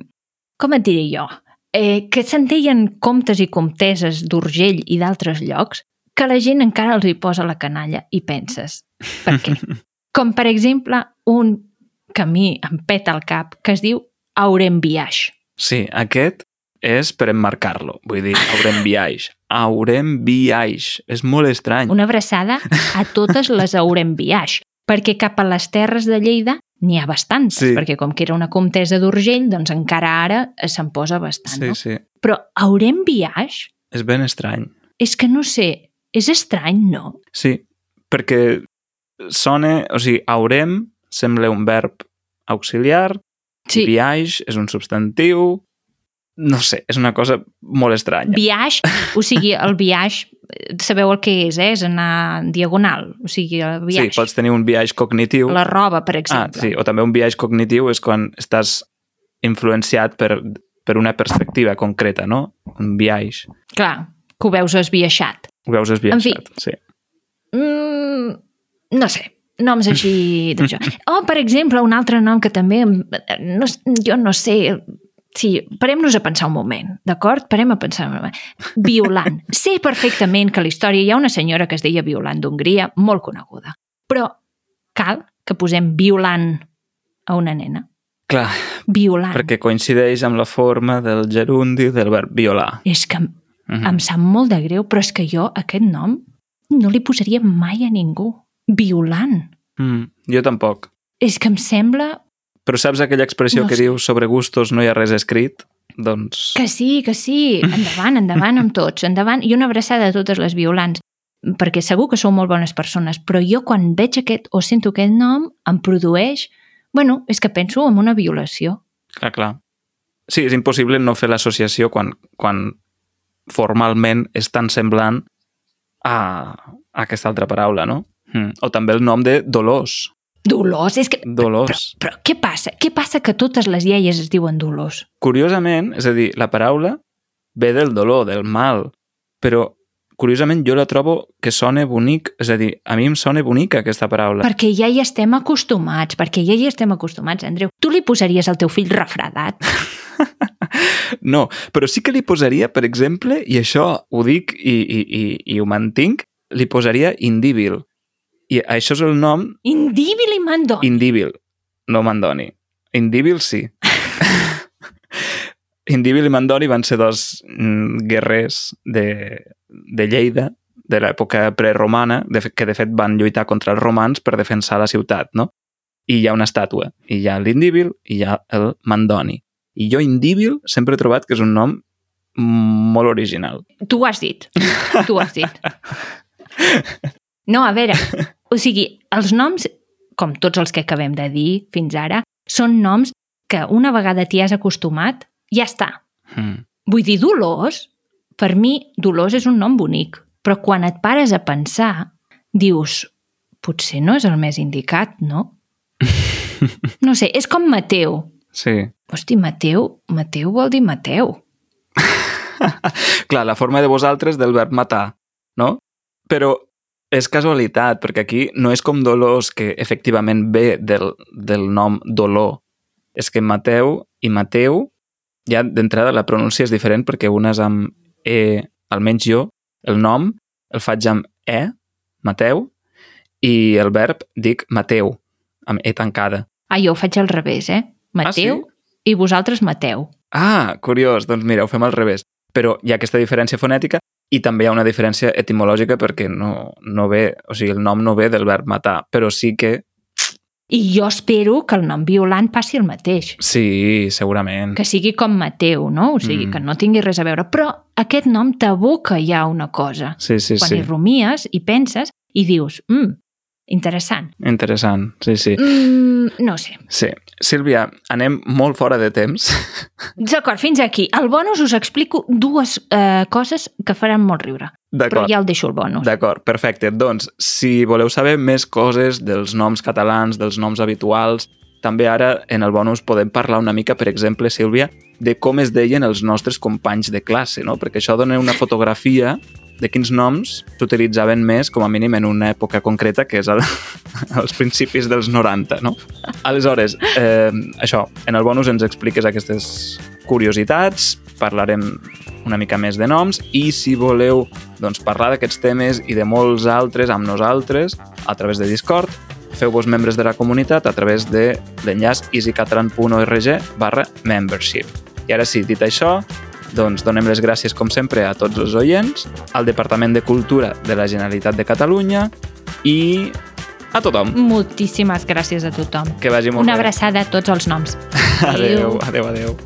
[SPEAKER 1] com et diré jo, eh, que se'n deien comtes i comteses d'Urgell i d'altres llocs, que la gent encara els hi posa la canalla i penses, per què? com per exemple un que a mi em peta el cap, que es diu Aurembiaix.
[SPEAKER 2] Sí, aquest és per emmarcar-lo. Vull dir, Aurem Biaix. Aurem Biaix. És molt estrany.
[SPEAKER 1] Una abraçada a totes les Aurembiaix, perquè cap a les terres de Lleida n'hi ha bastantes, sí.
[SPEAKER 2] Sí.
[SPEAKER 1] perquè com que era una comtesa d'Urgell, doncs encara ara eh, se'n posa bastant.
[SPEAKER 2] Sí,
[SPEAKER 1] no?
[SPEAKER 2] sí.
[SPEAKER 1] Però Aurembiaix,
[SPEAKER 2] És ben estrany.
[SPEAKER 1] és que no sé, és estrany, no?
[SPEAKER 2] Sí, perquè sona... O sigui, Aurem sembla un verb auxiliar,
[SPEAKER 1] Sí,
[SPEAKER 2] Biaix és un substantiu, No sé, és una cosa molt estranya.
[SPEAKER 1] Biaix, o sigui, el biaix, eh, sabeu el que és, eh? És anar en diagonal, o sigui, el
[SPEAKER 2] Sí,
[SPEAKER 1] biaix.
[SPEAKER 2] pots tenir un biaix cognitiu.
[SPEAKER 1] La roba, per
[SPEAKER 2] Ah,
[SPEAKER 1] exemple.
[SPEAKER 2] sí, o també un biaix cognitiu és quan estàs influenciat per, per una perspectiva concreta, no? Un biaix.
[SPEAKER 1] Clar, que ho veus esbiaixat.
[SPEAKER 2] Ho veus esbiaixat. Sí.
[SPEAKER 1] Mm, no sé, noms així d'això. O, per exemple, un altre nom que també... em- No, s- jo no sé... Sí, parem-nos a pensar un moment, d'acord? Parem a pensar un moment. Violant. sé perfectament que a la història hi ha una senyora que es deia Violant d'Hongria, molt coneguda. Però cal que posem Violant a una nena.
[SPEAKER 2] Clar,
[SPEAKER 1] Violant.
[SPEAKER 2] perquè coincideix amb la forma del gerundi del verb violar.
[SPEAKER 1] És que em-
[SPEAKER 2] Mhm.
[SPEAKER 1] em sap molt de greu, però és que jo aquest nom no li posaria mai a ningú. Violant.
[SPEAKER 2] Mm, jo tampoc.
[SPEAKER 1] És que em sembla
[SPEAKER 2] Però saps aquella expressió
[SPEAKER 1] No
[SPEAKER 2] que
[SPEAKER 1] sé.
[SPEAKER 2] diu sobre gustos no hi ha res escrit? Doncs...
[SPEAKER 1] Que sí, que sí. Endavant, endavant amb tots. Endavant. I una abraçada a totes les violants. Perquè segur que sou molt bones persones, però jo quan veig aquest o sento aquest nom em produeix... Bueno, és que penso en una violació.
[SPEAKER 2] Clar, clar. Sí, és impossible no fer l'associació quan, quan formalment és tan semblant a, a aquesta altra paraula, no? Mm. O també el nom de Dolors.
[SPEAKER 1] Dolors, és que... Però,
[SPEAKER 2] Dolors.
[SPEAKER 1] però què passa? Què passa que totes les iaies es diuen Dolors?
[SPEAKER 2] Curiosament, és a dir, la paraula ve del dolor, del mal, però curiosament jo la trobo que sona bonic, és a dir, a mi em sona bonica aquesta paraula.
[SPEAKER 1] Perquè ja hi estem acostumats, perquè ja hi estem acostumats, Andreu. Tu li posaries al teu fill refredat?
[SPEAKER 2] No, però sí que li posaria, per exemple, i això ho dic i, i, i, i ho mantinc, li posaria indíbil. I això és el nom
[SPEAKER 1] Indíbil i mandó.
[SPEAKER 2] Indíbil. No Mandoni. Indíbil sí. Indíbil i Mandoni van ser dos mm, guerrers de, de Lleida, de l'època preromana, de fe- que de fet van lluitar contra els romans per defensar la ciutat, no? I hi ha una estàtua. I hi ha l'Indíbil i hi ha el Mandoni. I jo Indíbil sempre he trobat que és un nom molt original.
[SPEAKER 1] Tu ho has dit. Tu ho has dit. No, a veure, o sigui, els noms, com tots els que acabem de dir fins ara, són noms que una vegada t'hi has acostumat, ja està.
[SPEAKER 2] Mm.
[SPEAKER 1] Vull dir, Dolors, per mi, Dolors és un nom bonic, però quan et pares a pensar, dius, potser no és el més indicat, no? No sé, és com Mateu.
[SPEAKER 2] Sí.
[SPEAKER 1] Hosti, Mateu, Mateu vol dir Mateu.
[SPEAKER 2] Clar, la forma de vosaltres del verb matar, no? Però és casualitat, perquè aquí no és com dolors, que efectivament ve del, del nom dolor. És que Mateu i Mateu, ja d'entrada la pronúncia és diferent perquè una és amb E, almenys jo, el nom el faig amb E, Mateu, i el verb dic Mateu, amb E tancada.
[SPEAKER 1] Ah, jo ho faig al revés, eh? Mateu
[SPEAKER 2] Ah, sí?
[SPEAKER 1] i vosaltres Mateu.
[SPEAKER 2] Ah, curiós. Doncs mira, ho fem al revés. Però hi ha aquesta diferència fonètica i també hi ha una diferència etimològica perquè no, no ve, o sigui, el nom no ve del verb matar, però sí que...
[SPEAKER 1] I jo espero que el nom violant passi el
[SPEAKER 2] Mm.
[SPEAKER 1] mateix.
[SPEAKER 2] Sí, segurament.
[SPEAKER 1] Que sigui com Mateu, no? O sigui,
[SPEAKER 2] Mm.
[SPEAKER 1] mm. que no tingui res a veure. Però aquest nom t'aboca ja una cosa.
[SPEAKER 2] Sí, sí,
[SPEAKER 1] Quan
[SPEAKER 2] sí.
[SPEAKER 1] hi rumies i penses i dius, mm, interessant.
[SPEAKER 2] Interessant, sí, sí.
[SPEAKER 1] Mm, no ho sé.
[SPEAKER 2] Sí. Sílvia, anem molt fora de temps.
[SPEAKER 1] D'acord, fins aquí. Al bonus us explico dues eh, coses que faran molt riure. Però
[SPEAKER 2] D'acord.
[SPEAKER 1] ja el deixo el bonus.
[SPEAKER 2] D'acord, perfecte. Doncs, si voleu saber més coses dels noms catalans, dels noms habituals, també ara en el bonus podem parlar una mica, per exemple, Sílvia, de com es deien els nostres companys de classe, no? Perquè això dona una fotografia de quins noms s'utilitzaven més, com a mínim en una època concreta, que és el, als principis dels 90, no? Aleshores, eh, això, en el bonus ens expliques aquestes curiositats, parlarem una mica més de noms i si voleu doncs, parlar d'aquests temes i de molts altres amb nosaltres a través de Discord, feu-vos membres de la comunitat a través de l'enllaç easycatalan.org barra membership. I ara sí, dit això, doncs donem les gràcies com sempre a tots els oients, al Departament de Cultura de la Generalitat de Catalunya i a tothom.
[SPEAKER 1] Moltíssimes gràcies a tothom.
[SPEAKER 2] Que vagi molt
[SPEAKER 1] Una
[SPEAKER 2] bé.
[SPEAKER 1] abraçada a tots els noms.
[SPEAKER 2] Adéu, adéu, adéu.